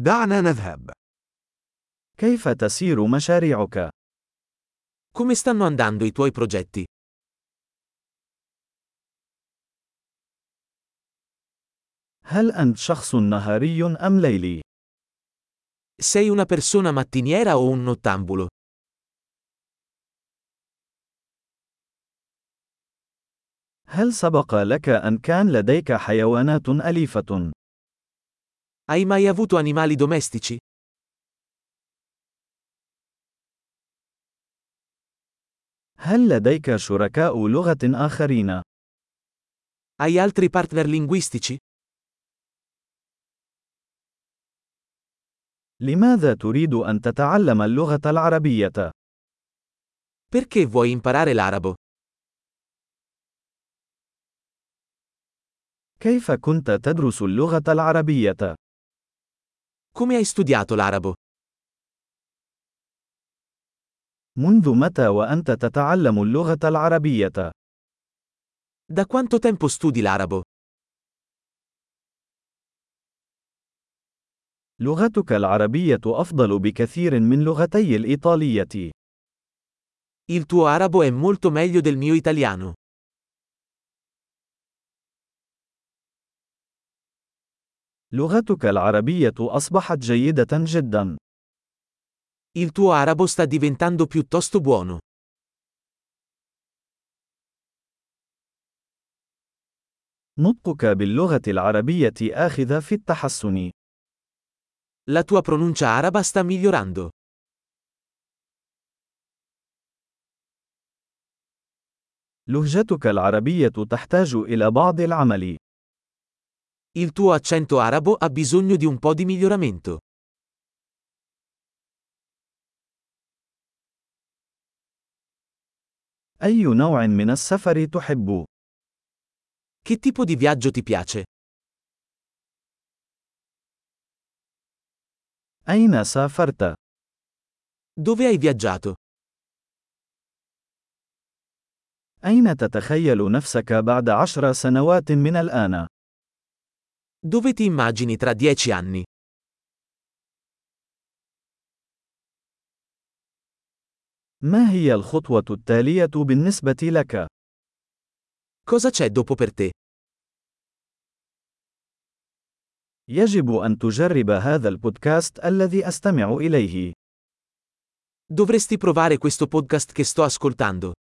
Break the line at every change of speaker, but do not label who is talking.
دعنا نذهب.
كيف تسير مشاريعك؟
Come stanno andando i tuoi progetti?
هل أنت شخص نهاري أم ليلي؟
Sei una persona mattiniera o un nottambulo?
هل سبق لك أن كان لديك حيوانات أليفة؟
Hai mai avuto animali domestici?
هل لديك شركاء لغة آخرين؟
Hai altri partner linguistici?
لماذا تريد أن تتعلم اللغة العربية؟
Perché vuoi imparare l'arabo?
كيف كنت تدرس اللغة العربية؟
Come hai studiato l'arabo?
منذ متى وأنت تتعلم اللغة العربية؟
Da quanto tempo studi l'arabo?
لغتك العربية أفضل بكثير من لغتي الإيطالية.
Il tuo arabo è molto meglio del mio italiano.
لغتك العربية أصبحت جيدة جدا.
Il tuo arabo sta diventando piuttosto buono.
نطقك باللغة العربية آخذ في التحسن.
La tua pronuncia araba sta migliorando.
لهجتك العربية تحتاج إلى بعض العمل.
Il tuo accento arabo ha bisogno di un po' di miglioramento.
أي نوع من السفر تحب؟
Che tipo di viaggio ti piace?
أين سافرت؟
Dove hai viaggiato?
أين تتخيل نفسك بعد عشر سنوات من الآن؟
Dove ti immagini tra dieci anni?
ما هي الخطوة التالية بالنسبة لك؟
Cosa c'è dopo per te?
يجب أن تجرب هذا البودكاست الذي أستمع إليه.
Dovresti provare questo podcast che sto ascoltando.